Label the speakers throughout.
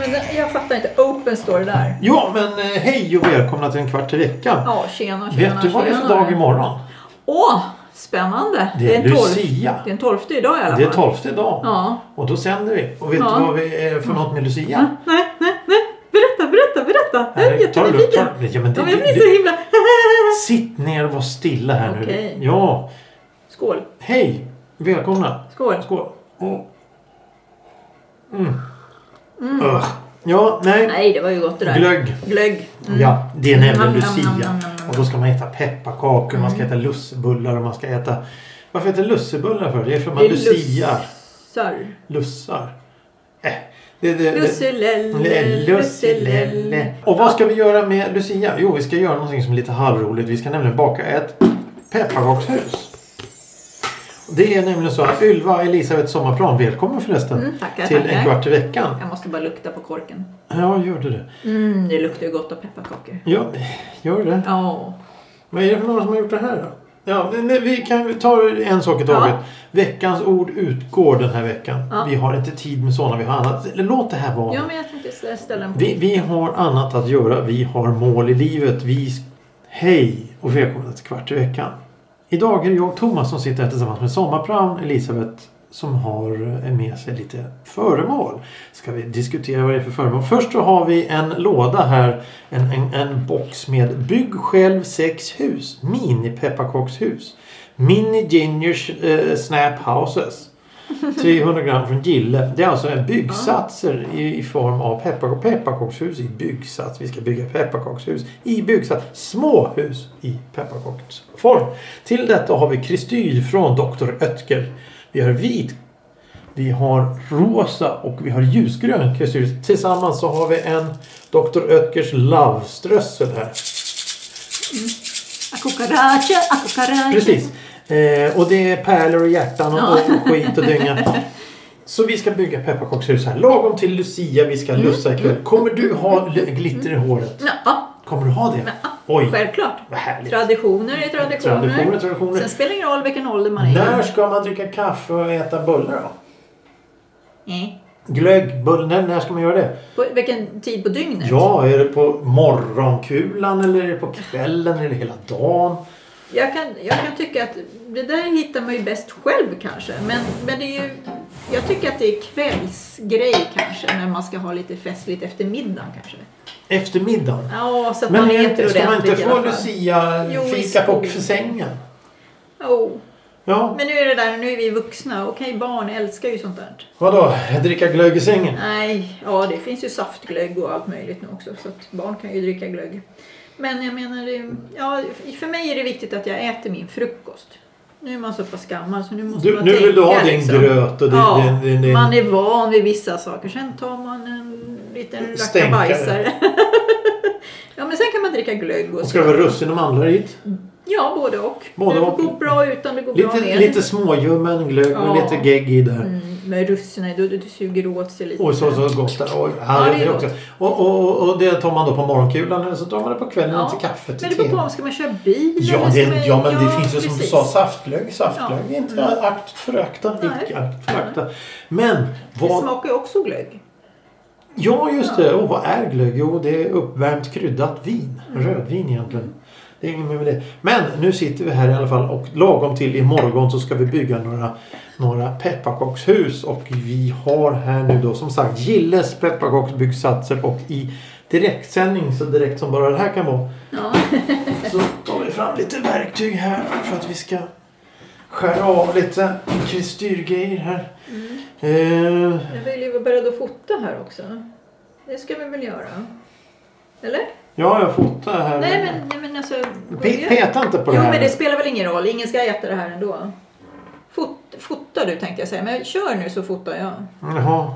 Speaker 1: men det- jag fattar inte. Open står det där.
Speaker 2: Ja, men eh, hej och välkomna till en kvart i veckan.
Speaker 1: Ja, tjena, tjena,
Speaker 2: Vet du vad det är för
Speaker 1: tjena.
Speaker 2: dag imorgon?
Speaker 1: Åh, spännande.
Speaker 2: Det är
Speaker 1: en tolf-
Speaker 2: Lucia.
Speaker 1: Det är en tolfte idag i alla fall.
Speaker 2: Det är tolfte idag.
Speaker 1: Ja.
Speaker 2: Och då sänder vi. Och vet
Speaker 1: Ja.
Speaker 2: du vad vi är för något med Lucia?
Speaker 1: Nej, nej, nej. Berätta, berätta, berätta. Jag är
Speaker 2: Nej, ta det lugnt,
Speaker 1: jättenyfiken.
Speaker 2: ta det- Ja, men det-
Speaker 1: Ja, men jag
Speaker 2: det-
Speaker 1: blir så himla...
Speaker 2: Sitt ner och var stilla här nu.
Speaker 1: Okej.
Speaker 2: Ja,
Speaker 1: Skål.
Speaker 2: hej! Välkomna.
Speaker 1: Skål.
Speaker 2: Skål. Och- Mm. Ugh. Ja, nej.
Speaker 1: Nej, det var ju gott det där.
Speaker 2: Glögg.
Speaker 1: Glögg. Mm.
Speaker 2: Ja, det är nämligen
Speaker 1: Mm, mm, mm,
Speaker 2: Lucia.
Speaker 1: mm, mm.
Speaker 2: Och då ska man äta pepparkakor, man ska äta lussebullar och man ska äta... Varför heter det lussebullar för? Det är för att man
Speaker 1: Det är
Speaker 2: luciar.
Speaker 1: Lussar.
Speaker 2: Lussar. Äh, det, det, det.
Speaker 1: Lusselelle,
Speaker 2: Lusselelle.
Speaker 1: lusselelle.
Speaker 2: Och vad ska vi göra med Lucia? Jo, vi ska göra någonting som är lite halvroligt. Vi ska nämligen baka ett pepparkakshus. Det är nämligen så att Ylva Elisabeth Sommarplan, välkommen förresten.
Speaker 1: Mm, tackar,
Speaker 2: till en
Speaker 1: tackar.
Speaker 2: kvart i veckan.
Speaker 1: Jag måste bara lukta på korken.
Speaker 2: Ja, gör du det?
Speaker 1: Mm, det luktar ju gott av pepparkakor.
Speaker 2: Ja, gör du det?
Speaker 1: Ja.
Speaker 2: Vad är det för några som har gjort det här då? Ja, men vi kan ta en sak i taget.
Speaker 1: Ja.
Speaker 2: Veckans ord utgår den här veckan.
Speaker 1: Ja.
Speaker 2: Vi har inte tid med sådana, vi har annat. Låt det här vara.
Speaker 1: Ja, men jag tänkte ställa en
Speaker 2: Vi, vi har annat att göra. Vi har mål i livet. Vi... Hej och välkomna till Kvart i veckan. Idag är det jag och Thomas som sitter här tillsammans med sommarprån Elisabeth som har eh, med sig lite föremål. Ska vi diskutera vad det är för föremål? Först så har vi en låda här. En, en, en box med Bygg själv sex hus. Mini pepparkakshus. Mini Gingers eh, Snap Houses. 300 gram från Gille. Det är alltså en byggsatser i, i form av peppark- pepparkakshus i byggsats. Vi ska bygga pepparkakshus i byggsats. Småhus i pepparkaksform. Till detta har vi kristyl från Dr. Oetker. Vi har vit, vi har rosa och vi har ljusgrön kristyl. Tillsammans så har vi en Dr. Oetkers Love-strössel här.
Speaker 1: A cucaracha, a cucaracha.
Speaker 2: Precis. Eh, och det är pärlor och hjärtan och, och skit och dynga. Så vi ska bygga pepparkakshus här. Lagom till Lucia vi
Speaker 1: Mm.
Speaker 2: ska lussa ikväll. Kommer du ha l- glitter i håret?
Speaker 1: Ja,
Speaker 2: Kommer du ha
Speaker 1: ah,
Speaker 2: det? Oj,
Speaker 1: självklart.
Speaker 2: vad härligt.
Speaker 1: Traditioner är traditioner.
Speaker 2: Traditioner är traditioner.
Speaker 1: Sen spelar det ingen roll vilken ålder man är
Speaker 2: När ska man dricka kaffe och äta bullar då?
Speaker 1: Nej.
Speaker 2: Glögg, bullar, när- när ska man göra det?
Speaker 1: Eh. På, vilken tid på dygnet?
Speaker 2: Ja, är det på morgonkulan eller är det på kvällen eller hela dagen?
Speaker 1: Jag, kan, jag kan tycka att det där hittar man ju bäst själv kanske. Men, men det är ju, jag tycker att det är kvällsgrej kanske. När man ska ha lite festligt efter middagen kanske.
Speaker 2: Eftermiddagen?
Speaker 1: Ja, så att
Speaker 2: Men
Speaker 1: man
Speaker 2: är
Speaker 1: äter
Speaker 2: inte,
Speaker 1: ordentligt
Speaker 2: ska man inte
Speaker 1: i alla
Speaker 2: få
Speaker 1: fall. Jo, i
Speaker 2: Lucia-fika på
Speaker 1: skogen.
Speaker 2: sängen?
Speaker 1: Jo.
Speaker 2: Ja,
Speaker 1: Men nu är det där, nu är vi vuxna. Okej, barn älskar ju sånt där.
Speaker 2: vadå? Dricka glögg i sängen?
Speaker 1: Nej, ja det finns ju saftglögg och allt möjligt nu också så att barn kan ju dricka glögg. Men jag menar, det- ja, för mig är det viktigt att jag äter min frukost. Nu är man så pass gammal så nu måste
Speaker 2: Du,
Speaker 1: man
Speaker 2: nu
Speaker 1: tänka.
Speaker 2: vill du ha din
Speaker 1: liksom.
Speaker 2: gröt och din,
Speaker 1: ja,
Speaker 2: din, din, din
Speaker 1: man är van vid vissa saker. Sen tar man en liten
Speaker 2: Stänkare.
Speaker 1: rackabajsare. ja, men sen kan man dricka glögg och
Speaker 2: Ska det vara russin och mandlar i?
Speaker 1: Ja, både och.
Speaker 2: Både
Speaker 1: det
Speaker 2: och.
Speaker 1: går bra utan, det går bra
Speaker 2: Lite,
Speaker 1: med.
Speaker 2: lite småljummen glögg och
Speaker 1: Ja.
Speaker 2: lite gegg i där.
Speaker 1: Mm, med russinen, du, du suger åt sig lite.
Speaker 2: Oj, så, så gott där. Oj, ja,
Speaker 1: det
Speaker 2: det
Speaker 1: är
Speaker 2: är
Speaker 1: gott.
Speaker 2: också. Och, och, och- och det tar man då på morgonkulan eller så tar man det på kvällen
Speaker 1: Ja,
Speaker 2: till kaffet till
Speaker 1: Men det beror på,
Speaker 2: te.
Speaker 1: om ska man köra bil?
Speaker 2: Ja,
Speaker 1: eller
Speaker 2: det,
Speaker 1: ska man-
Speaker 2: ja, men det
Speaker 1: ja,
Speaker 2: finns ju som du
Speaker 1: precis.
Speaker 2: sa saftglögg. Saftglögg
Speaker 1: Ja. Mm.
Speaker 2: är inte akt förakta.
Speaker 1: Nej.
Speaker 2: Icke akt förakta. Men
Speaker 1: Det
Speaker 2: vad...
Speaker 1: smakar ju också glögg.
Speaker 2: Ja, just det. Och vad är glögg? Jo, det är uppvärmt kryddat vin. Rödvin egentligen. Det är inget mer med det. Men nu sitter vi här i alla fall och lagom till imorgon så ska vi bygga några, några pepparkakshus. Och vi har här nu då som sagt Gilles pepparkaksbyggsatser och i direktsändning så direkt som bara det här kan vara
Speaker 1: Ja.
Speaker 2: så tar vi fram lite verktyg här för att vi ska skära av lite kristyrgrejer här. Eh,
Speaker 1: Mm. Jag vill ju vara beredd att fota här också. Det ska vi väl göra? Eller?
Speaker 2: ja, jag fotar här.
Speaker 1: Nej men, nej, men alltså... vad
Speaker 2: Pe-
Speaker 1: gör-
Speaker 2: peta inte på
Speaker 1: Jo
Speaker 2: det här.
Speaker 1: men det spelar väl ingen roll, ingen ska äta det här ändå. Fot, fotar du tänkte jag säga, men kör nu så fotar jag.
Speaker 2: Jaha.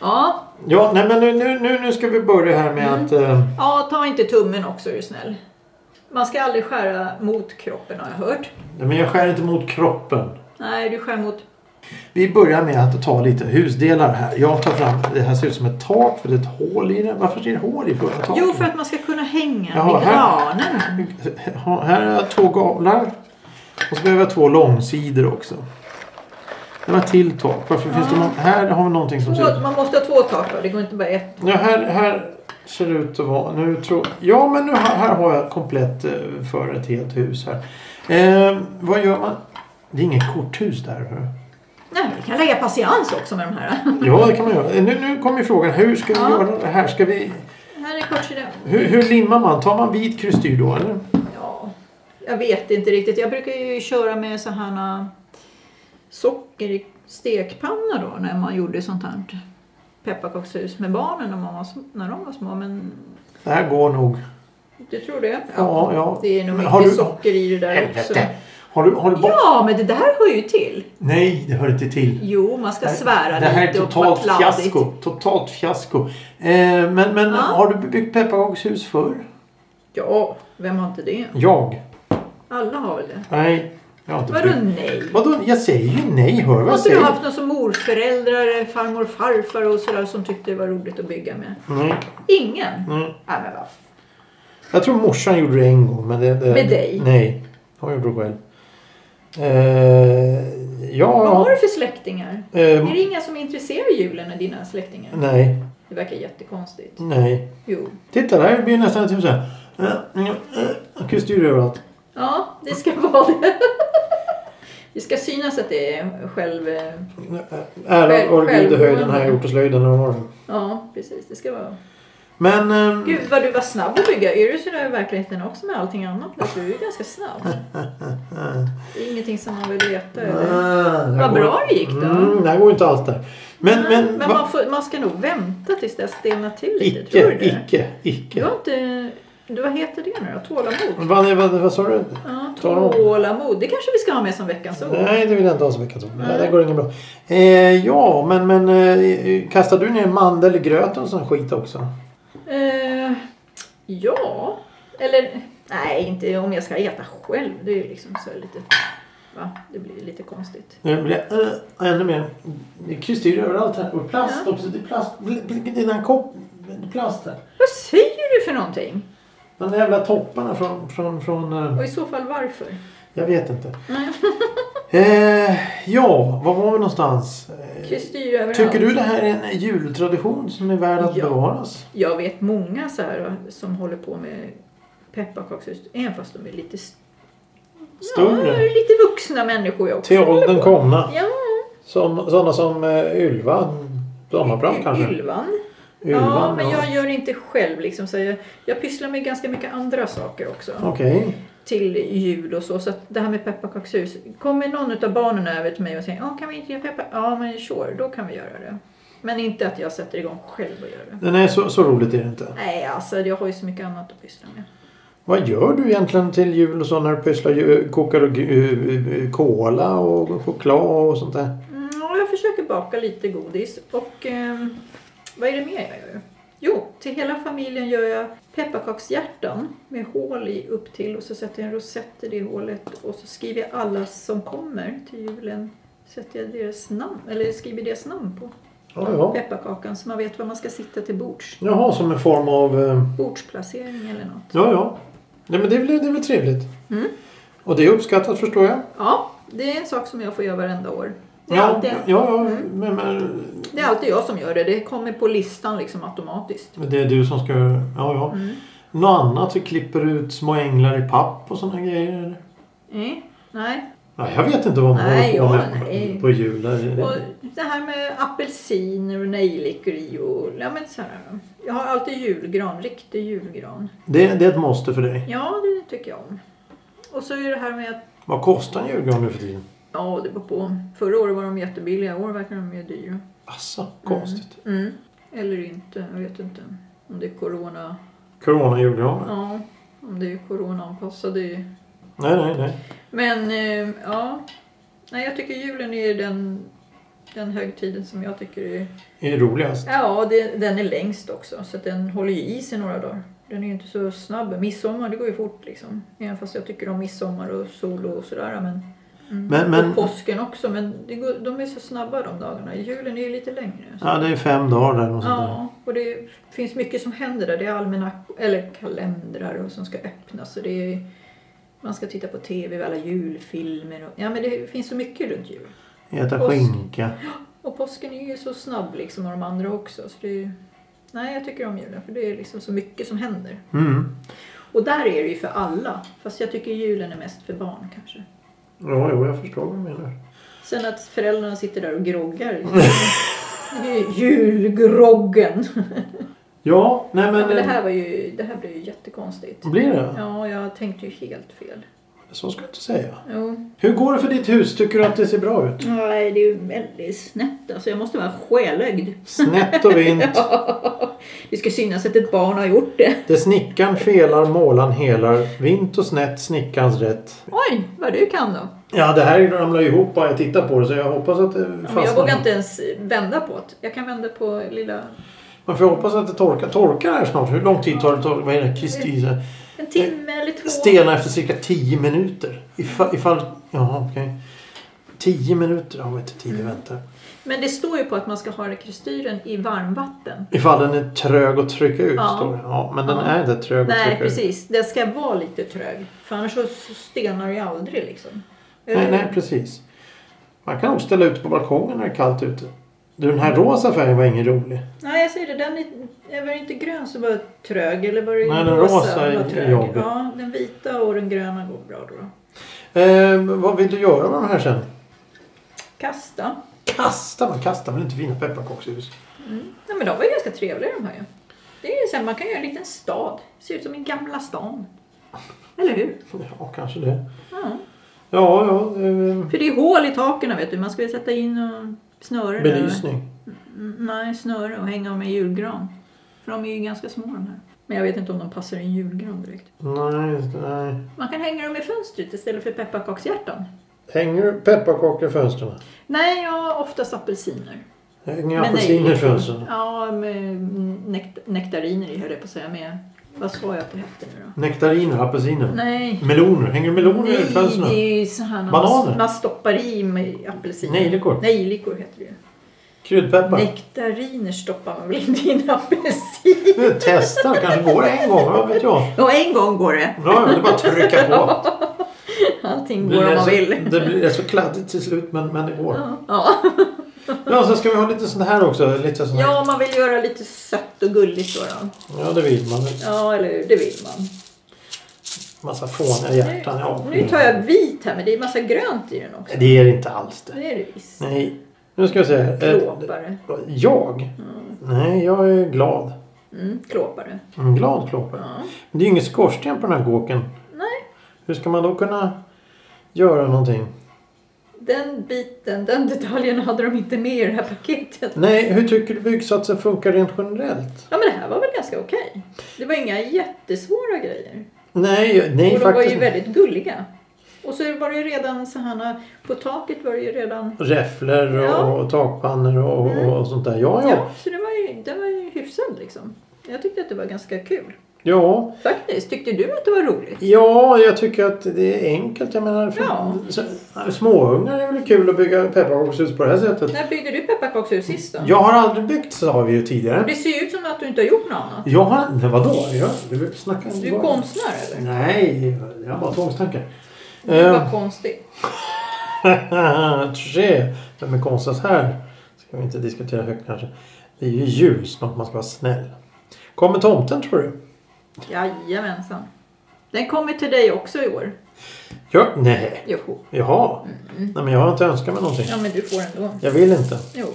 Speaker 1: Ja,
Speaker 2: Ja, nej men nu, nu, nu, nu ska vi börja här med
Speaker 1: Mm.
Speaker 2: att... Eh,
Speaker 1: ja ta inte tummen också är du snäll. Man ska aldrig skära mot kroppen har jag hört.
Speaker 2: nej, men jag skär inte mot kroppen.
Speaker 1: Nej, du skär mot...
Speaker 2: Vi börjar med att ta lite husdelar här. Jag tar fram... Det här ser ut som ett tak för det är ett hål i det. Varför är det hål i själva taket?
Speaker 1: Jo, för att man ska kunna hänga
Speaker 2: Jaha,
Speaker 1: med
Speaker 2: här.
Speaker 1: granen.
Speaker 2: Ja, Här har jag två gavlar. Och så behöver jag två långsidor också. Det var till tak. Varför finns det många? Här har vi någonting som ser ut...
Speaker 1: Två, man måste ha två tak va? det går inte bara ett.
Speaker 2: Ja, här, här ser det ut att vara... Nu tror... Ja, men nu, har- här har jag komplett eh, för ett helt hus här. Eh, vad gör man? Det är inget korthus där. hörru.
Speaker 1: Nej, men vi kan lägga patiens också med de här.
Speaker 2: Ja, det kan man göra. Eh, Nu, nu kommer ju frågan. Hur ska vi
Speaker 1: Ja.
Speaker 2: göra det här? Ska vi...
Speaker 1: här är kortsidan.
Speaker 2: Hur, hur limmar man? Tar man vit kristyr då, eller?
Speaker 1: Ja, jag vet inte riktigt. Jag brukar ju köra med så här äh, socker i stekpanna då när man gjorde sånt här pepparkakshus med barnen när, man var, sm- när de var små. Men
Speaker 2: Det här går nog.
Speaker 1: du tror det?
Speaker 2: Ja, ja.
Speaker 1: Det är nog
Speaker 2: Men har
Speaker 1: mycket
Speaker 2: du-
Speaker 1: socker i det där också.
Speaker 2: Helvete! Har du, har du bort...
Speaker 1: Ja, men det där hör ju till.
Speaker 2: Nej, det hör inte till.
Speaker 1: Jo, man ska svära
Speaker 2: Det här är
Speaker 1: lite och vara
Speaker 2: totalt
Speaker 1: kladdigt.
Speaker 2: fiasko. Totalt fiasko. Eh, men men
Speaker 1: Ja.
Speaker 2: har du byggt pepparkakshus förr?
Speaker 1: Ja, vem har inte det?
Speaker 2: Jag?
Speaker 1: Alla har väl det?
Speaker 2: Nej. Jag har inte
Speaker 1: Vadå
Speaker 2: byggt.
Speaker 1: nej?
Speaker 2: Vadå? Jag säger ju nej. Hör vad jag
Speaker 1: Måste du
Speaker 2: säger.
Speaker 1: ha haft någon som morföräldrar, farmor, farfar och sådär som tyckte det var roligt att bygga med?
Speaker 2: Nej,
Speaker 1: Ingen?
Speaker 2: nej.
Speaker 1: Nej, men vad
Speaker 2: Jag tror morsan gjorde det en gång. Men det, det,
Speaker 1: Med dig?
Speaker 2: Nej. Hon gjorde det själv. Eh, ja.
Speaker 1: Vad har du för släktingar?
Speaker 2: eh,
Speaker 1: Är det inga som är intresserade av julen av dina släktingar?
Speaker 2: nej.
Speaker 1: Det verkar jättekonstigt.
Speaker 2: Nej.
Speaker 1: Jo.
Speaker 2: Titta, där blir det nästan typ såhär. Eh, eh, eh, Kristyr överallt.
Speaker 1: Ja, det ska vara det. Det ska synas att det är själv... eh,
Speaker 2: Eh, Ära vare Gud i höjden här gjort och slöjden när var
Speaker 1: Ja, precis. Det ska vara...
Speaker 2: Men... ehm,
Speaker 1: Gud vad du var snabb att bygga. Är du sådär i verkligheten också med allting annat? För Du är ju ganska snabb. Det är ingenting som man vill veta över.
Speaker 2: Ah,
Speaker 1: Vad
Speaker 2: eh, går-
Speaker 1: bra det gick då.
Speaker 2: Mm, det här går inte alls där. Men, men,
Speaker 1: Men
Speaker 2: va-
Speaker 1: man, får, man ska nog vänta tills det har stelnat till lite, tror
Speaker 2: icke,
Speaker 1: du det?
Speaker 2: icke,
Speaker 1: Du
Speaker 2: icke.
Speaker 1: har inte... du, Vad heter det nu då? Tålamod?
Speaker 2: Vad, vad, vad sa du?
Speaker 1: Ja,
Speaker 2: Mm. Tålamod.
Speaker 1: tålamod. Det kanske vi ska ha med som veckans ord.
Speaker 2: Nej, det vill jag inte ha som veckan som. Det
Speaker 1: Nej.
Speaker 2: där går inget bra. Eh, ja, men, men eh, kastar du ner mandel i gröten och sån skit också?
Speaker 1: Eh, ja, eller nej, inte om jag ska äta själv. Det är ju liksom så lite... Va? Det blir ju lite konstigt.
Speaker 2: Nu blir det eh, ännu mer. Det är kristyr överallt här. Och plast
Speaker 1: Ja.
Speaker 2: också. Det är plast. Dina kopp. det är Plast här.
Speaker 1: Vad säger du för någonting?
Speaker 2: De där jävla topparna från... från, från eh,
Speaker 1: Och i så fall varför?
Speaker 2: jag vet inte.
Speaker 1: Nej.
Speaker 2: Eh, ja, var var vi någonstans? Eh,
Speaker 1: Kristyr överallt.
Speaker 2: Tycker du det här är en jultradition som är värd att
Speaker 1: Ja.
Speaker 2: bevaras?
Speaker 1: Jag vet många så här som håller på med pepparkakshus, även fast de är lite... st- Ja,
Speaker 2: Större.
Speaker 1: lite vuxna människor också.
Speaker 2: Till åldern komna.
Speaker 1: Ja,
Speaker 2: Som, sådana som eh, Ylva Sommarbrand kanske?
Speaker 1: Ylvan.
Speaker 2: Ylvan,
Speaker 1: ja, men
Speaker 2: ja.
Speaker 1: jag gör inte själv liksom. Så jag, jag pysslar med ganska mycket andra saker också.
Speaker 2: Okej.
Speaker 1: till jul och så. Så att det här med pepparkakshus. Kommer någon av barnen över till mig och säger "Ja, kan vi inte göra peppar? Ja men sure, då kan vi göra det. Men inte att jag sätter igång själv och gör det.
Speaker 2: Nej, eh, så, så roligt är det inte.
Speaker 1: Nej alltså jag har ju så mycket annat att pyssla med.
Speaker 2: Vad gör du egentligen till jul och så när du pysslar? ju- Kokar du eh, eh, kola och choklad och sånt där?
Speaker 1: Mm, ja, jag försöker baka lite godis och ehm, vad är det mer jag gör? Jo, till hela familjen gör jag pepparkakshjärtan med hål i upp till och så sätter jag en rosett i det hålet och så skriver jag alla som kommer till julen. Sätter jag deras namn, eller skriver deras namn på.
Speaker 2: Ja, ja.
Speaker 1: pepparkakan så man vet var man ska sitta till bords.
Speaker 2: Jaha, som en form av... eh,
Speaker 1: Bordsplacering eller något.
Speaker 2: Ja, ja. Nej, men det är väl, det är väl trevligt.
Speaker 1: Mm.
Speaker 2: Och det är uppskattat förstår jag.
Speaker 1: Ja, det är en sak som jag får göra varenda år. Det är,
Speaker 2: Ja,
Speaker 1: alltid,
Speaker 2: ja, ja men, men
Speaker 1: det är alltid jag som gör det. Det kommer på listan liksom automatiskt.
Speaker 2: det är du som ska... Ja, ja.
Speaker 1: Mm.
Speaker 2: Något annat? Vi klipper ut små änglar i papp och sådana grejer? eller?
Speaker 1: Mm. Nej.
Speaker 2: Nej, jag vet inte vad man
Speaker 1: Nej,
Speaker 2: håller på
Speaker 1: ja,
Speaker 2: med
Speaker 1: nej.
Speaker 2: på jul. Är det-
Speaker 1: Och det här med apelsiner och nejlikor i och ja, men så här. Jag har alltid julgran, riktig julgran.
Speaker 2: Det, det är ett måste för dig.
Speaker 1: Ja, det tycker jag om. Och så är det här med att
Speaker 2: Vad kostar en julgran nu för tiden?
Speaker 1: ja, det beror på. Förra året var de jättebilliga, i år verkar de ju dyra.
Speaker 2: Asså, konstigt.
Speaker 1: Mm. Eller inte, jag vet inte. Om det är corona...
Speaker 2: Corona-julgranar?
Speaker 1: Ja, om det är coronaanpassade. ju.
Speaker 2: Nej, nej, nej.
Speaker 1: Men eh, ja, nej jag tycker julen är den, den högtiden som jag tycker är...
Speaker 2: Det är roligast.
Speaker 1: Ja, det, den är längst också så att den håller ju i sig några dagar. Den är ju inte så snabb. Midsommar, det går ju fort liksom. Även fast jag tycker om midsommar och sol och sådär. Men, mm.
Speaker 2: Men- men-
Speaker 1: Och påsken också, men det går, de är så snabba de dagarna. Julen är ju lite längre.
Speaker 2: Ja, det är fem dagar där och sånt där.
Speaker 1: Ja, och det finns mycket som händer där. Det är almanack, eller kalendrar och som ska öppnas. Och det är, man ska titta på tv, alla julfilmer. Och, ja, men det finns så mycket runt jul.
Speaker 2: Äta
Speaker 1: Och s-
Speaker 2: skinka.
Speaker 1: Och påsken är ju så snabb liksom och de andra också. Så det är ju... Nej, jag tycker om julen för det är liksom så mycket som händer.
Speaker 2: Mm.
Speaker 1: Och där är det ju för alla. Fast jag tycker julen är mest för barn kanske.
Speaker 2: Ja, jo, jag förstår vad du menar.
Speaker 1: Sen att föräldrarna sitter där och groggar. Liksom. Det är ju Julgroggen!
Speaker 2: Ja, nej men... eh,
Speaker 1: Men det här var ju, det här blev ju jättekonstigt.
Speaker 2: Blir det?
Speaker 1: Ja, jag tänkte ju helt fel.
Speaker 2: Så ska jag inte säga.
Speaker 1: Jo.
Speaker 2: Hur går det för ditt hus? Tycker du att det ser bra ut?
Speaker 1: Nej, det är ju väldigt snett alltså. Jag måste vara själögd.
Speaker 2: Snett och vint.
Speaker 1: Det ska synas att ett barn har gjort det.
Speaker 2: Det snickan felar, målan helar. Vint och snett, snickans rätt.
Speaker 1: Oj, vad du kan då.
Speaker 2: Ja, det här ramlar ihop bara jag tittar på det så jag hoppas att det
Speaker 1: Ja, men jag
Speaker 2: fastnar.
Speaker 1: vågar inte ens vända på det. Jag kan vända på lilla...
Speaker 2: Man får hoppas att det torkar. Torkar här snart. Hur lång tid tar det? Tor- Vad är det? Kristina?
Speaker 1: En timme eller två.
Speaker 2: Stena efter cirka 10 minuter. Ifall... ifall jaha, okej. 10 minuter har vi inte tid
Speaker 1: Mm.
Speaker 2: att vänta.
Speaker 1: Men det står ju på att man ska ha rekrystyren i varmvatten.
Speaker 2: Ifall den är trög att trycka ut,
Speaker 1: Ja.
Speaker 2: står det. Ja, men
Speaker 1: Ja.
Speaker 2: den är inte trög att
Speaker 1: Nej,
Speaker 2: trycka ut.
Speaker 1: precis. Den ska vara lite trög. För annars så stelnar det ju aldrig liksom.
Speaker 2: Nej, nej, precis. Man kan nog ställa ut på balkongen när det är kallt ute. Du, den här rosa färgen var ingen rolig.
Speaker 1: Nej, jag säger det. Den är, var det inte grön så var trög. Eller var det
Speaker 2: Nej, den rosa är
Speaker 1: var trög?
Speaker 2: jobbig.
Speaker 1: Ja, den vita och den gröna går bra då.
Speaker 2: Eh, vad vill du göra med de här sen?
Speaker 1: Kasta.
Speaker 2: Kasta? Man kastar väl inte fina pepparkakshus?
Speaker 1: Nej, Mm. men de var ju ganska trevliga de här ju. Det är ju så här, man kan göra en liten stad. Ser ut som en gamla stan. Eller hur?
Speaker 2: Ja, kanske det.
Speaker 1: Ja.
Speaker 2: Ja, ja. Eh,
Speaker 1: För det är hål i taken vet du. Man ska väl sätta in och snöre där.
Speaker 2: belysning.
Speaker 1: Mm, Nej, snöre och hänga med julgran. För de är ju ganska små de här. Men jag vet inte om de passar i en julgran direkt.
Speaker 2: Nej, just det, nej.
Speaker 1: Man kan hänga dem i fönstret istället för pepparkakshjärtan.
Speaker 2: Hänger pepparkakor i fönstren?
Speaker 1: Nej, jag har oftast apelsiner.
Speaker 2: Hänger
Speaker 1: Men
Speaker 2: apelsiner
Speaker 1: nej.
Speaker 2: i fönstren?
Speaker 1: Ja, med nekt- nektariner i höll jag på att säga. Med, vad sa jag att det hette nu då?
Speaker 2: Nektariner, apelsiner?
Speaker 1: Nej.
Speaker 2: Meloner? Hänger meloner i
Speaker 1: Nej, det
Speaker 2: fönstren?
Speaker 1: är ju så här när
Speaker 2: Bananer?
Speaker 1: man, man stoppar i med apelsiner.
Speaker 2: Nejlikor?
Speaker 1: Nejlikor heter det ju.
Speaker 2: Kryddpeppar?
Speaker 1: Nektariner stoppar man väl inte i en apelsin?
Speaker 2: Testa, kanske går det en gång, vad vet jag?
Speaker 1: Och en gång går det.
Speaker 2: Ja, det är bara att trycka på.
Speaker 1: Allting
Speaker 2: Det
Speaker 1: går om
Speaker 2: blir,
Speaker 1: man
Speaker 2: så,
Speaker 1: vill.
Speaker 2: det blir rätt så kladdigt till slut men, men det går.
Speaker 1: Ja.
Speaker 2: Ja, sen ska vi ha lite sånt här också. Lite sån här.
Speaker 1: ja, man vill göra lite sött och gulligt då. då.
Speaker 2: ja, det vill man.
Speaker 1: Ja, eller hur? Det vill man.
Speaker 2: Massa fåniga hjärtan. Ja.
Speaker 1: Nu tar jag vit här, men det är massa grönt i den också.
Speaker 2: Det är det inte alls det.
Speaker 1: Det är det visst.
Speaker 2: Nej. Nu ska vi se. här. Eh,
Speaker 1: Klåpare.
Speaker 2: Jag? Nej, jag är glad.
Speaker 1: Mm, klåpare.
Speaker 2: En glad klåpare.
Speaker 1: Ja.
Speaker 2: Men det är ju ingen skorsten på den här gåken.
Speaker 1: Nej,
Speaker 2: Hur ska man då kunna göra någonting?
Speaker 1: den biten, den detaljen hade de inte med i det här paketet.
Speaker 2: Nej, hur tycker du byggsatsen funkar rent generellt?
Speaker 1: Ja, men det här var väl ganska okej. Det var inga jättesvåra grejer.
Speaker 2: Nej, nej
Speaker 1: och de var
Speaker 2: faktiskt.
Speaker 1: ju väldigt gulliga. Och så var det ju redan så här, på taket var det ju redan...
Speaker 2: Räfflor och,
Speaker 1: Ja.
Speaker 2: och takpannor och,
Speaker 1: Mm.
Speaker 2: och, och sånt där. Ja, ja.
Speaker 1: Ja, så det var ju, det var ju hyfsad liksom. Jag tyckte att det var ganska kul.
Speaker 2: ja.
Speaker 1: Faktiskt, tyckte du att det var roligt?
Speaker 2: Ja, jag tycker att det är enkelt. Jag menar, för,
Speaker 1: Ja.
Speaker 2: så- småungar är väl kul att bygga pepparkakshus på det här sättet.
Speaker 1: När byggde du pepparkakshus sist då?
Speaker 2: Jag har aldrig byggt sa vi ju tidigare.
Speaker 1: Det ser ju ut som att du inte har gjort något annat.
Speaker 2: Jag har... Nej, vadå? Jag, du snackar
Speaker 1: Du är konstnär eller?
Speaker 2: Nej, jag har bara tvångstankar.
Speaker 1: Det
Speaker 2: Ehm.
Speaker 1: var konstigt.
Speaker 2: Eh, Touché! Vem är konstigast här? Ska vi inte diskutera högt kanske. Det är ju jul, snart man ska vara snäll. Kommer tomten tror du?
Speaker 1: Jajamensan. Den kommer till dig också i år.
Speaker 2: Ja, nej.
Speaker 1: Jo.
Speaker 2: Jaha.
Speaker 1: Mm.
Speaker 2: Nej, men jag har inte önskat mig någonting.
Speaker 1: Ja men du får ändå.
Speaker 2: Jag vill inte.
Speaker 1: Jo.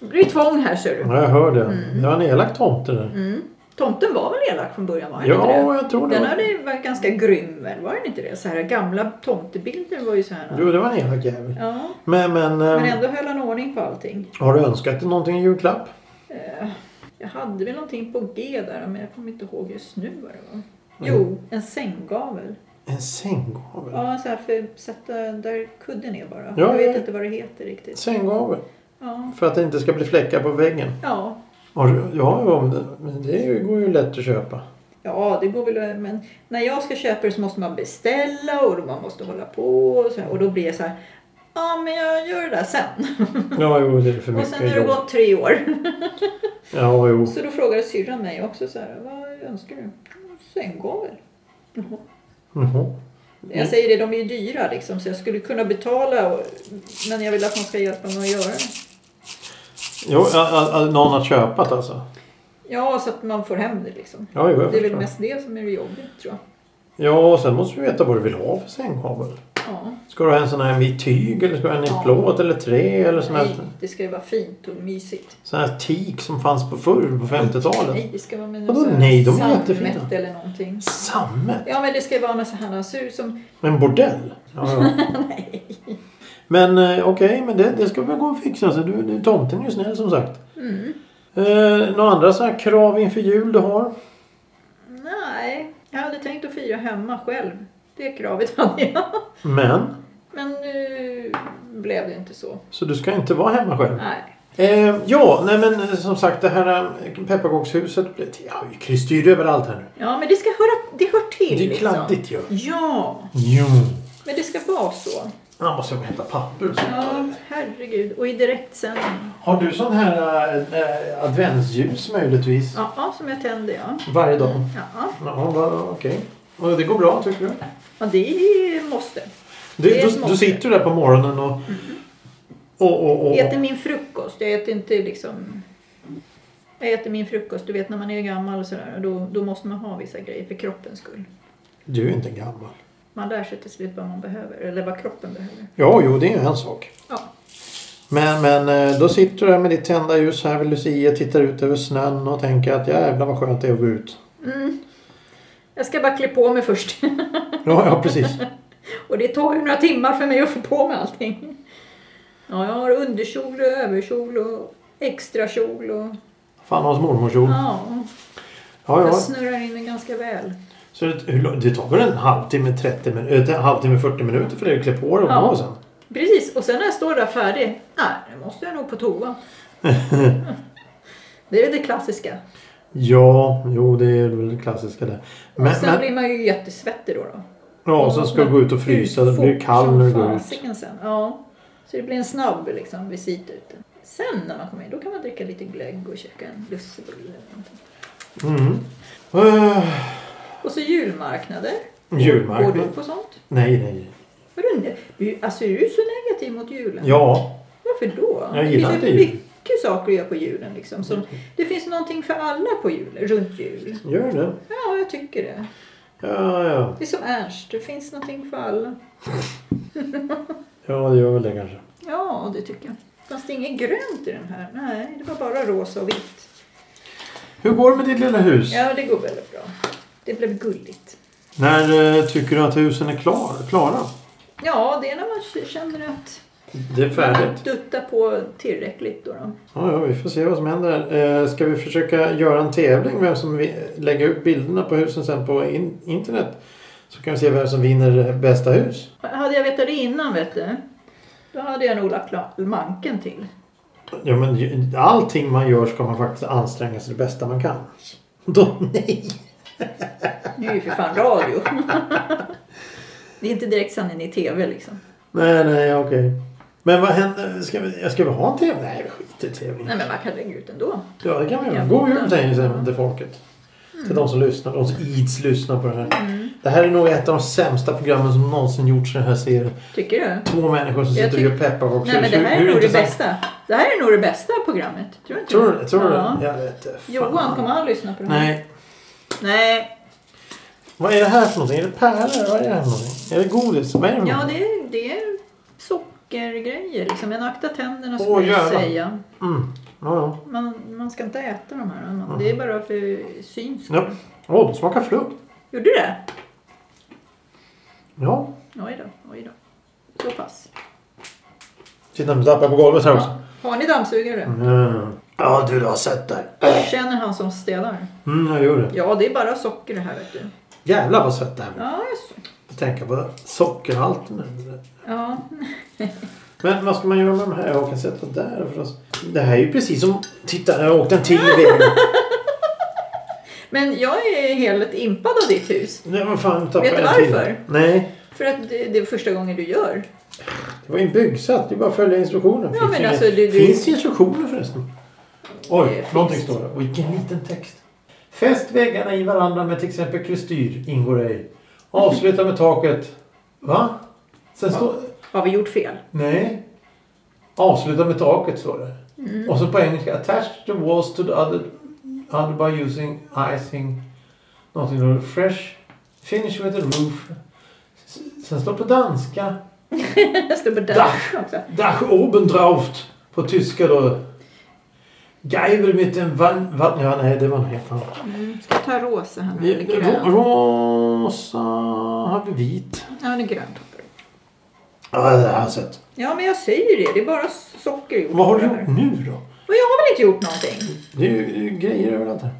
Speaker 1: Det blir tvång här ser du.
Speaker 2: Ja, jag hör det. Det var en elak tomte där.
Speaker 1: Mm. Tomten var väl elak från början? Var han inte
Speaker 2: Ja,
Speaker 1: det?
Speaker 2: jag tror det.
Speaker 1: Den
Speaker 2: var-
Speaker 1: hade ju varit ganska grym väl? Var den inte det? Så här gamla tomtebilder var ju så här.
Speaker 2: Jo, det var en elak jävel.
Speaker 1: Ja.
Speaker 2: Men, men, eh,
Speaker 1: Men ändå höll han ordning på allting.
Speaker 2: har du önskat dig någonting i julklapp?
Speaker 1: Eh, Jag hade väl någonting på G där men jag kommer inte ihåg just nu vad det var.
Speaker 2: Mm.
Speaker 1: Jo, en sänggavel.
Speaker 2: En sänggavel?
Speaker 1: Ja, så här för att sätta där kudden är bara.
Speaker 2: Ja,
Speaker 1: jag vet
Speaker 2: ja.
Speaker 1: inte vad det heter riktigt.
Speaker 2: Sänggavel?
Speaker 1: Ja.
Speaker 2: För att det inte ska bli fläckar på väggen?
Speaker 1: Ja.
Speaker 2: Har du, ja, ja, men det- men det är ju- går ju lätt att köpa.
Speaker 1: Ja, det går väl men när jag ska köpa det så måste man beställa och då man måste hålla på och så här, och då blir jag så här Ja, men jag gör det där sen.
Speaker 2: Ja, jo, det är för
Speaker 1: Och sen har
Speaker 2: mycket
Speaker 1: det
Speaker 2: jobb.
Speaker 1: gått tre år.
Speaker 2: Ja, jo.
Speaker 1: Så då frågade syrran mig också så här, vad önskar du? Sänggavel. Jaha.
Speaker 2: Jaha.
Speaker 1: Jag säger det, de är ju dyra liksom, så jag skulle kunna betala och, men jag vill att någon ska hjälpa mig att göra det.
Speaker 2: Jo, a, a, a, någon har köpat alltså?
Speaker 1: Ja, så att man får hem det liksom.
Speaker 2: Ja, jo, jag
Speaker 1: Det är väl
Speaker 2: förstår.
Speaker 1: mest det som är det jobbiga tror jag.
Speaker 2: Ja, och sen måste du veta vad du vill ha för sängkabel.
Speaker 1: Ja.
Speaker 2: Ska du ha en sån här vit tyg eller ska du ha en i
Speaker 1: Ja.
Speaker 2: plåt eller trä eller sån
Speaker 1: Nej,
Speaker 2: här,
Speaker 1: det ska ju vara fint och mysigt.
Speaker 2: sån här teak som fanns på förr på 50-talet?
Speaker 1: Nej, det ska vara med
Speaker 2: Vadå
Speaker 1: någon sån här
Speaker 2: nej? De är
Speaker 1: sammet
Speaker 2: jättefina.
Speaker 1: eller någonting.
Speaker 2: Sammet?
Speaker 1: Ja, men det ska ju vara något så här något sur som...
Speaker 2: En bordell? Ja, ja. Men eh, okej, men det, det ska väl gå att fixa. Så du, du, tomten är ju snäll som sagt.
Speaker 1: Mm.
Speaker 2: Eh, några andra sådana här krav inför jul du har?
Speaker 1: Nej, jag hade tänkt att fira hemma själv. Det kravet hade jag.
Speaker 2: Men,
Speaker 1: Men nu blev det inte så.
Speaker 2: så du ska inte vara hemma själv?
Speaker 1: Nej.
Speaker 2: Eh, ja, nej men eh, som sagt det här eh, pepparkakshuset. blir- Ja, vi kryssdyr överallt här nu.
Speaker 1: Ja, men det ska höra... Det hör till
Speaker 2: Det är kladdigt ju.
Speaker 1: Liksom. Ja,
Speaker 2: Jo.
Speaker 1: men det ska vara så.
Speaker 2: Han måste gå och hämta papper och sånt.
Speaker 1: Ja, herregud. Och i direktsändning.
Speaker 2: Har du sån här eh, eh, adventsljus möjligtvis?
Speaker 1: Ja, ja, som jag tänder, ja.
Speaker 2: Varje dag?
Speaker 1: Ja, ja.
Speaker 2: Ja, va- okej. Och det går bra tycker du?
Speaker 1: ja det är måste. Det
Speaker 2: Du,
Speaker 1: är Mhm. ett
Speaker 2: du,
Speaker 1: måste.
Speaker 2: du sitter ju där på morgonen och... och, och, och
Speaker 1: Jag äter min frukost. Jag äter inte liksom... Jag äter min frukost. Du vet när man är gammal och sådär. och Då, då måste man ha vissa grejer för kroppens skull.
Speaker 2: Du är inte gammal.
Speaker 1: Man lär sig till slut vad man behöver. Eller vad kroppen behöver.
Speaker 2: Ja, jo, det är en sak.
Speaker 1: Ja.
Speaker 2: Men, men eh, då sitter du där med ditt tända ljus här vid Lucia, tittar ut över snön och tänker att jävlar vad skönt det är att gå ut.
Speaker 1: Mm. Jag ska bara klä på mig först.
Speaker 2: Ja, ja precis.
Speaker 1: Och det tar ju några timmar för mig att få på mig allting. Ja, jag har underkjol och överkjol och extra kjol och...
Speaker 2: Fan, hans mormorskjol.
Speaker 1: Ja,
Speaker 2: Ja, ja.
Speaker 1: jag snurrar in mig ganska väl.
Speaker 2: Så det, hur lång- det tar väl en halvtimme, 30 minuter, en halvtimme, 40 minuter för dig att klä på dig och
Speaker 1: Ja.
Speaker 2: gå sen.
Speaker 1: Precis, och sen när jag står där färdig, nej, nu måste jag nog på toa. det är det klassiska.
Speaker 2: Ja, jo det är väl det klassiska där. Men,
Speaker 1: och sen
Speaker 2: men,
Speaker 1: blir man ju jättesvettig då. då.
Speaker 2: ja, sen ska du gå ut och frysa, det blir kallt när du går ut.
Speaker 1: ut. Sen. Ja. Så det blir en snabb liksom, visit ute. Sen när man kommer in, då kan man dricka lite glögg och käka en lussebulle eller någonting.
Speaker 2: Mm. Uh,
Speaker 1: Och så julmarknader. Går
Speaker 2: julmarknad.
Speaker 1: du på sånt?
Speaker 2: Nej, nej.
Speaker 1: Vadå ne- Du- Alltså är du så negativ mot julen?
Speaker 2: Ja,
Speaker 1: Varför då?
Speaker 2: Jag gillar
Speaker 1: det
Speaker 2: inte
Speaker 1: finns ju
Speaker 2: jul. Mm.
Speaker 1: mycket saker att göra på julen. Liksom, som, det finns någonting för alla på jul, runt jul.
Speaker 2: gör det.
Speaker 1: Ja, jag tycker det.
Speaker 2: Ja, ja.
Speaker 1: Det är som Ernst, det finns någonting för alla.
Speaker 2: Ja, det gör väl det kanske.
Speaker 1: Ja, det tycker jag. Fanns det inget grönt i den här? Nej, det var bara rosa och vitt.
Speaker 2: Hur går det med ditt lilla hus?
Speaker 1: Ja, det går väldigt bra. Det blev gulligt.
Speaker 2: När eh, tycker du att husen är klar, klara?
Speaker 1: Ja, det är när man k- känner att
Speaker 2: Det är
Speaker 1: man duttar på tillräckligt. Då då.
Speaker 2: Ja, ja, vi får se vad som händer. Eh, ska vi försöka göra en tävling? Vem som vi, lägga upp bilderna på husen sen på in, internet? Så kan vi se vem som vinner eh, bästa hus.
Speaker 1: Hade jag vetat det innan, vet du, då hade jag nog lagt la- manken till.
Speaker 2: Ja, men ju- allting man gör ska man faktiskt anstränga sig det bästa man kan. Då, nej!
Speaker 1: Nu är ju för fan radio. Det är inte direkt sändning i tv liksom.
Speaker 2: Nej, nej, okej. Men vad händer? Ska vi, ska vi ha en tävling? Nej, vi skiter i tävling.
Speaker 1: Nej men man kan lägga ut ändå.
Speaker 2: Ja, det kan vi göra. God jul säger vi till folket. Till de som lyssnar, de som ids lyssnar på det här.
Speaker 1: Mm.
Speaker 2: Det här är nog ett av de sämsta programmen som någonsin gjorts i den här serien.
Speaker 1: Tycker du?
Speaker 2: Två människor som
Speaker 1: Jag
Speaker 2: sitter och gör pepparkakshus.
Speaker 1: Nej men det
Speaker 2: Hur-
Speaker 1: här
Speaker 2: hur
Speaker 1: är nog det
Speaker 2: intressant?
Speaker 1: bästa. Det här är nog det bästa programmet. Tror du inte
Speaker 2: Tror du, tror du?
Speaker 1: Ja.
Speaker 2: Jag vet inte. Fan.
Speaker 1: Johan, kommer han lyssna på det här?
Speaker 2: Nej.
Speaker 1: Nej.
Speaker 2: Vad är det här för någonting? Är det pärlor? Vad är det här för någonting? Är det godis? Vad är det för
Speaker 1: Ja
Speaker 2: någonting?
Speaker 1: det är, det är sockergrejer liksom. Men akta tänderna
Speaker 2: Åh,
Speaker 1: skulle jag
Speaker 2: jävlar.
Speaker 1: säga.
Speaker 2: Mm. Ja, ja.
Speaker 1: Man, man ska inte äta de här. Man, det är bara för syns skull.
Speaker 2: Mm. Ja. Åh, det smakar frukt.
Speaker 1: Gjorde du det?
Speaker 2: Ja.
Speaker 1: Oj då, oj då. Så pass.
Speaker 2: Titta, nu tappar jag på golvet här också.
Speaker 1: Ja. Har ni dammsugare?
Speaker 2: Mm. Ja, du, du har sett där.
Speaker 1: Känner han som städar?
Speaker 2: Mm, jag gör det.
Speaker 1: Ja, det är bara socker det här vet du.
Speaker 2: Jävlar vad sött det här blev.
Speaker 1: Ja, just det.
Speaker 2: Får Tänka på sockerhalten.
Speaker 1: Ja,
Speaker 2: Men vad ska man göra med de här? Jag kan sätta där förstås. Det här är ju precis som... Titta, jag åkte en till i vägen.
Speaker 1: men jag är helt impad av ditt hus.
Speaker 2: Nej, vad fan. tappade
Speaker 1: Vet du
Speaker 2: jag en till.
Speaker 1: varför?
Speaker 2: Nej.
Speaker 1: För att det, det är första gången du gör.
Speaker 2: Det var ju en byggsats. Det är bara att följa instruktioner.
Speaker 1: Ja,
Speaker 2: Finns
Speaker 1: men
Speaker 2: inga-
Speaker 1: alltså, du- du-
Speaker 2: Finns det instruktioner förresten? Oj,
Speaker 1: Det finns.
Speaker 2: någonting står det. Vilken liten text. Fäst väggarna i varandra med till exempel krystyr ingår ej. Avsluta med taket. Va? Sen
Speaker 1: Ja.
Speaker 2: står...
Speaker 1: Har vi gjort fel?
Speaker 2: Nej. Avsluta med taket står det. Och så på engelska. Attached the walls to the other, other by using icing. Någonting då. Fresh. Finish with the roof. S- Sen står på danska.
Speaker 1: Jag står på
Speaker 2: Dach.
Speaker 1: Dach också.
Speaker 2: Dach oben drauf. På tyska då. Geibel mit dem Wann... Wann ja, nej, det var något helt annat.
Speaker 1: Mm. Ska jag ta rosa här nu? Eller
Speaker 2: Ro-
Speaker 1: grön?
Speaker 2: Rosa... Har vi vit?
Speaker 1: Ja, det är grönt.
Speaker 2: Ja, det har jag sett.
Speaker 1: Ja, men jag säger det. Det är bara socker i
Speaker 2: Vad har du
Speaker 1: det här.
Speaker 2: gjort nu då?
Speaker 1: Men jag har väl inte gjort någonting?
Speaker 2: Det är ju det är ju grejer överallt här.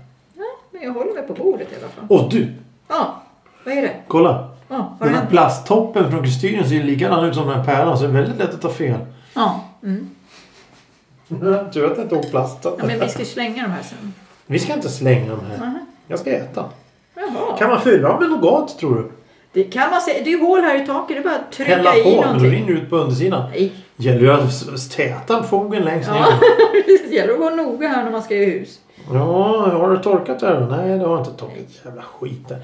Speaker 1: Men jag håller mig på bordet i alla fall.
Speaker 2: Och du!
Speaker 1: Ja, vad är det?
Speaker 2: Kolla!
Speaker 1: Ja, har
Speaker 2: Den
Speaker 1: det
Speaker 2: här
Speaker 1: hänt?
Speaker 2: plasttoppen från kostymen ser ju likadan ut som den här pärlan så det är väldigt lätt att ta fel.
Speaker 1: Ja. Mm.
Speaker 2: Tur att jag inte åt plasten.
Speaker 1: ja, men vi ska ju slänga de här sen.
Speaker 2: Vi ska inte slänga dem här.
Speaker 1: Aha.
Speaker 2: Jag ska äta.
Speaker 1: Jaha.
Speaker 2: Kan man fylla dem med nougat tror du?
Speaker 1: Det kan man säga. Det är ju hål här i taket. Det är bara att trycka
Speaker 2: Hälla
Speaker 1: i
Speaker 2: på, men då
Speaker 1: någonting.
Speaker 2: rinner det ut på undersidan.
Speaker 1: Nej,
Speaker 2: Gäller ju att s- täta fogen längst
Speaker 1: Ja.
Speaker 2: ner.
Speaker 1: det gäller att vara noga här när man ska i hus.
Speaker 2: Ja, har du torkat det här då? Nej, det har jag inte torkat. Jävla skit där.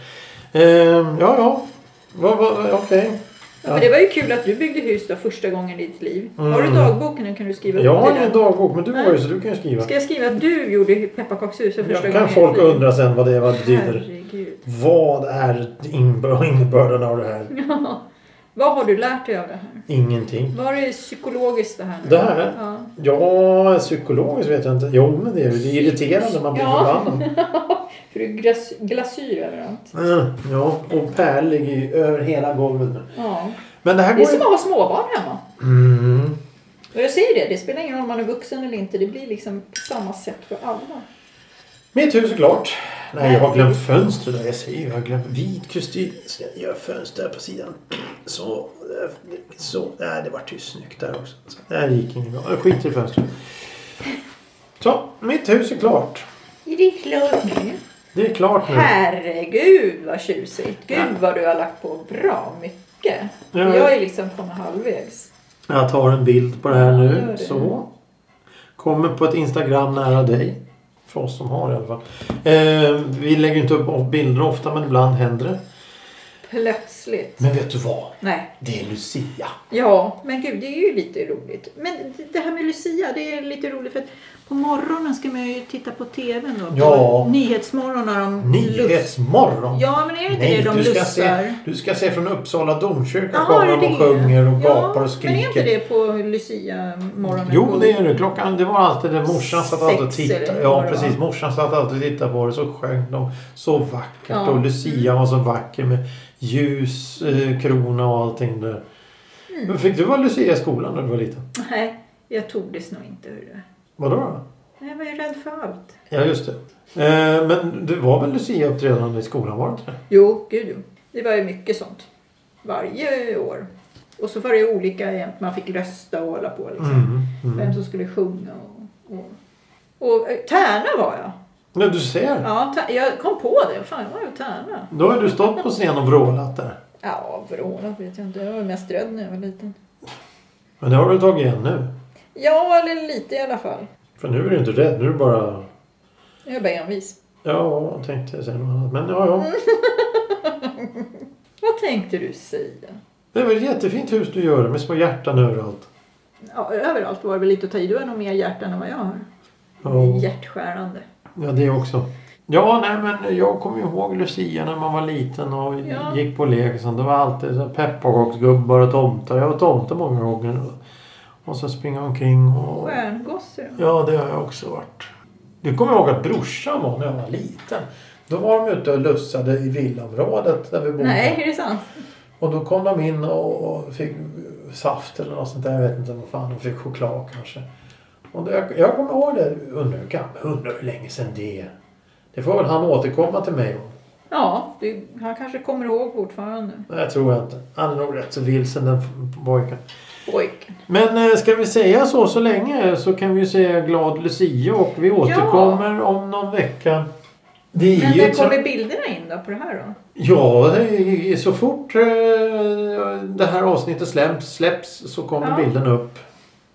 Speaker 2: Ehm, ja, ja. Va, va, va, Okej.
Speaker 1: Ja. Men det var ju kul att du byggde hus då första gången i ditt liv.
Speaker 2: Mm.
Speaker 1: Har du dagboken nu kan du skriva upp
Speaker 2: Jag har
Speaker 1: det där.
Speaker 2: ingen dagbok, men du har ju så du kan ju skriva.
Speaker 1: Ska jag skriva att du gjorde pepparkakshuset första
Speaker 2: Jag
Speaker 1: gången?
Speaker 2: kan
Speaker 1: i
Speaker 2: folk
Speaker 1: ditt liv?
Speaker 2: undra sen vad det, vad det betyder.
Speaker 1: Herregud.
Speaker 2: Vad är inb- innebörden av det här?
Speaker 1: Ja. Vad har du lärt dig av det här?
Speaker 2: Ingenting.
Speaker 1: Var det psykologiskt det här? nu?
Speaker 2: Det här?
Speaker 1: Ja.
Speaker 2: Ja, psykologiskt vet jag inte. Jo, men det är ju det är irriterande. Man blir
Speaker 1: Ja.
Speaker 2: förbannad.
Speaker 1: För det är glas- glasyr överallt.
Speaker 2: Mm, ja, och Per ligger ju över hela golvet nu.
Speaker 1: Ja.
Speaker 2: Men det här
Speaker 1: Det är
Speaker 2: går ju...
Speaker 1: som att ha småbarn hemma.
Speaker 2: Mm.
Speaker 1: Och jag säger det, det spelar ingen roll om man är vuxen eller inte. Det blir liksom på samma sätt för alla.
Speaker 2: Mitt hus är klart. Nej, jag har glömt fönstret. där. Jag säger ju, jag har glömt vit kostym. Så jag gör fönster här på sidan. Så. eh, Så. Nej, det vart ju snyggt där också. Så, nej, det gick inget bra. Jag skiter i fönstret. Så, mitt hus är klart.
Speaker 1: Är det klart nu?
Speaker 2: Det är klart nu.
Speaker 1: Herregud vad tjusigt! Gud
Speaker 2: Mm. Ja.
Speaker 1: vad du har lagt på bra mycket.
Speaker 2: Ja.
Speaker 1: Jag är liksom kommit halvvägs.
Speaker 2: Jag tar en bild på det här
Speaker 1: Ja, gör
Speaker 2: nu.
Speaker 1: det.
Speaker 2: Så. Kommer på ett Instagram nära dig. För oss som har i alla fall. Eh, vi lägger ju inte upp bilder ofta men ibland händer det.
Speaker 1: Plötsligt.
Speaker 2: Men vet du vad?
Speaker 1: Nej.
Speaker 2: Det är Lucia.
Speaker 1: Ja, men gud det är ju lite roligt. Men det här med Lucia, det är lite roligt för att på morgonen ska man ju titta på TVn då. På
Speaker 2: Ja.
Speaker 1: Nyhetsmorgon när de lust-
Speaker 2: Nyhetsmorgon.
Speaker 1: Ja, men är det inte
Speaker 2: Nej,
Speaker 1: det de
Speaker 2: du ska,
Speaker 1: lustar?
Speaker 2: se, du ska se från Uppsala domkyrka
Speaker 1: Jaha,
Speaker 2: kommer
Speaker 1: är
Speaker 2: de
Speaker 1: det
Speaker 2: och sjunger och
Speaker 1: det?
Speaker 2: gapar och
Speaker 1: Men är inte
Speaker 2: skriker.
Speaker 1: det på Lucia-morgonen?
Speaker 2: Jo, det är det. Klockan, det var alltid det. Morsan satt alltid och
Speaker 1: Sex eller
Speaker 2: tittade.
Speaker 1: vad
Speaker 2: Ja,
Speaker 1: det
Speaker 2: precis. Morsan satt alltid och tittade på det. Så sjöng de så vackert.
Speaker 1: Ja.
Speaker 2: Och Lucia var så vacker med ljus, eh, krona och allting där.
Speaker 1: Mm.
Speaker 2: Men fick du vara Lucia i skolan när du var liten?
Speaker 1: Nej, jag tordes nog inte. Hörru.
Speaker 2: Vadå då?
Speaker 1: Jag var ju rädd för allt.
Speaker 2: Ja, just det. Eh, men det var väl Lucia-uppträdande i skolan? Var det inte det?
Speaker 1: Jo, gud jo. Det var ju mycket sånt. Varje år. Och så var det ju olika jämt. Man fick rösta och hålla på. Liksom.
Speaker 2: Mm, mm.
Speaker 1: Vem som skulle sjunga och... och, och eh, Tärna var jag.
Speaker 2: Ja, du ser.
Speaker 1: Ja, tär, jag kom på det. Fan, jag var ju Tärna.
Speaker 2: Då har du stått på scen och vrålat där.
Speaker 1: Ja, vrålat vet jag inte. Jag var mest rädd när jag var liten.
Speaker 2: Men det har du tagit igen nu.
Speaker 1: Ja, eller lite i alla fall.
Speaker 2: För nu är du inte rädd. Nu är du bara...
Speaker 1: Jag är bara envis.
Speaker 2: Ja, tänkte jag säga något annat. Men ja, ja.
Speaker 1: Vad tänkte du säga?
Speaker 2: Det är väl ett jättefint hus du gör med små hjärtan överallt.
Speaker 1: Ja, överallt var det väl lite att ta i. Du har nog mer hjärta än vad jag har.
Speaker 2: Ja,
Speaker 1: Hjärtskärande.
Speaker 2: ja det också. Ja, nej men jag kommer ihåg Lucia när man var liten och
Speaker 1: Ja.
Speaker 2: gick på lekisen. Det var alltid så här pepparkaksgubbar och tomtar. Jag var tomte många gånger. Och så springa omkring och...
Speaker 1: Stjärngosse då?
Speaker 2: Ja, det har jag också varit. Du kommer ihåg att brorsan var när jag var liten. Då var de ute och lussade i villaområdet där vi bodde.
Speaker 1: Nej, är det sant?
Speaker 2: Och då kom de in och, och fick saft eller något sånt där. Jag vet inte vad fan. De fick choklad kanske. Och det, jag, jag kommer ihåg det. Undrar hur, gam- undrar hur länge sedan det är. Det får väl han återkomma till mig om.
Speaker 1: Ja, det, han kanske kommer ihåg fortfarande.
Speaker 2: Nej, jag tror jag inte. Han är nog rätt så vilsen den f- pojken.
Speaker 1: Pojken.
Speaker 2: Men eh, ska vi säga så så länge så kan vi ju säga glad Lucia och vi återkommer om någon vecka. Det är
Speaker 1: Men
Speaker 2: ju
Speaker 1: när
Speaker 2: tra-
Speaker 1: kommer bilderna in då på det här då?
Speaker 2: Ja, eh, så fort eh, det här avsnittet släpps, släpps så kommer
Speaker 1: Ja.
Speaker 2: bilden upp.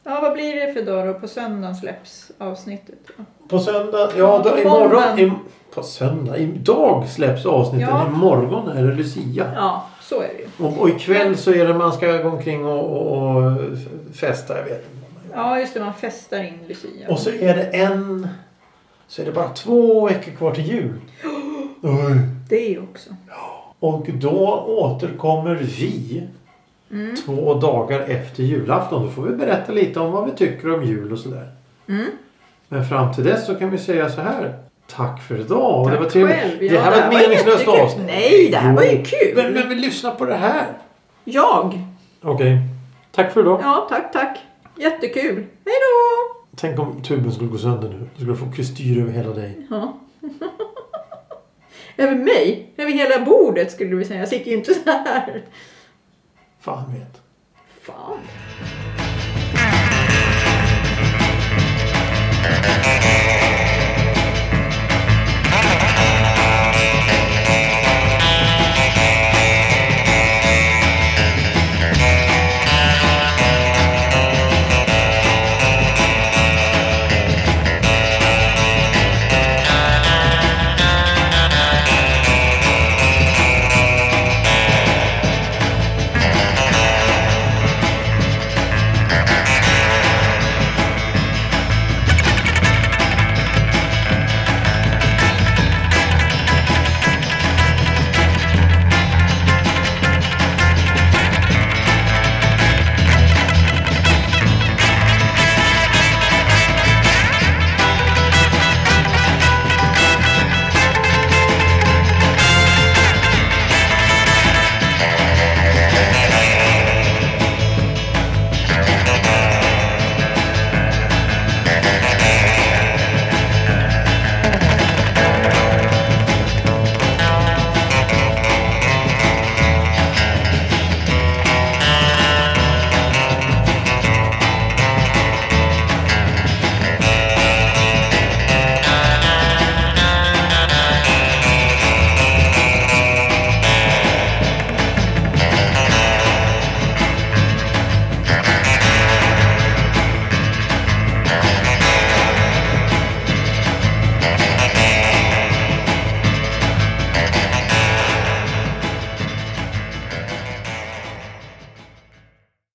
Speaker 1: Ja, vad blir det för dag då? På söndagen släpps avsnittet. då.
Speaker 2: På söndag, ja då,
Speaker 1: På
Speaker 2: imorgon.
Speaker 1: morgonen.
Speaker 2: Im, på söndag? Idag släpps avsnitten.
Speaker 1: Ja.
Speaker 2: Imorgon är det Lucia.
Speaker 1: Ja, så är det ju.
Speaker 2: Och, och ikväll så är det man ska gå omkring och, och, och festa. Jag vet inte. vad man gör.
Speaker 1: Ja, just det. Man festar in Lucia.
Speaker 2: Och så är det en... Så är det bara två veckor kvar till jul. Oj.
Speaker 1: Det också.
Speaker 2: Och då återkommer vi
Speaker 1: Mm.
Speaker 2: två dagar efter julafton. Då får vi berätta lite om vad vi tycker om jul och sådär.
Speaker 1: Mm.
Speaker 2: Men fram till dess så kan vi säga så här. Tack för idag. Och det
Speaker 1: Tack
Speaker 2: var trevligt.
Speaker 1: själv. Ja,
Speaker 2: det här var ett meningslöst
Speaker 1: jättekul.
Speaker 2: avsnitt.
Speaker 1: Nej, det här var ju kul.
Speaker 2: Men, men vi lyssnar på det här.
Speaker 1: Jag?
Speaker 2: Okej. Tack för idag.
Speaker 1: Ja, tack, tack. Jättekul. Hej då!
Speaker 2: Tänk om tuben skulle gå sönder nu. Då skulle du få kristyr över hela dig.
Speaker 1: Ja. Över mig? Över hela bordet skulle du säga. Jag sitter ju inte så här.
Speaker 2: Fan vet.
Speaker 1: Fan.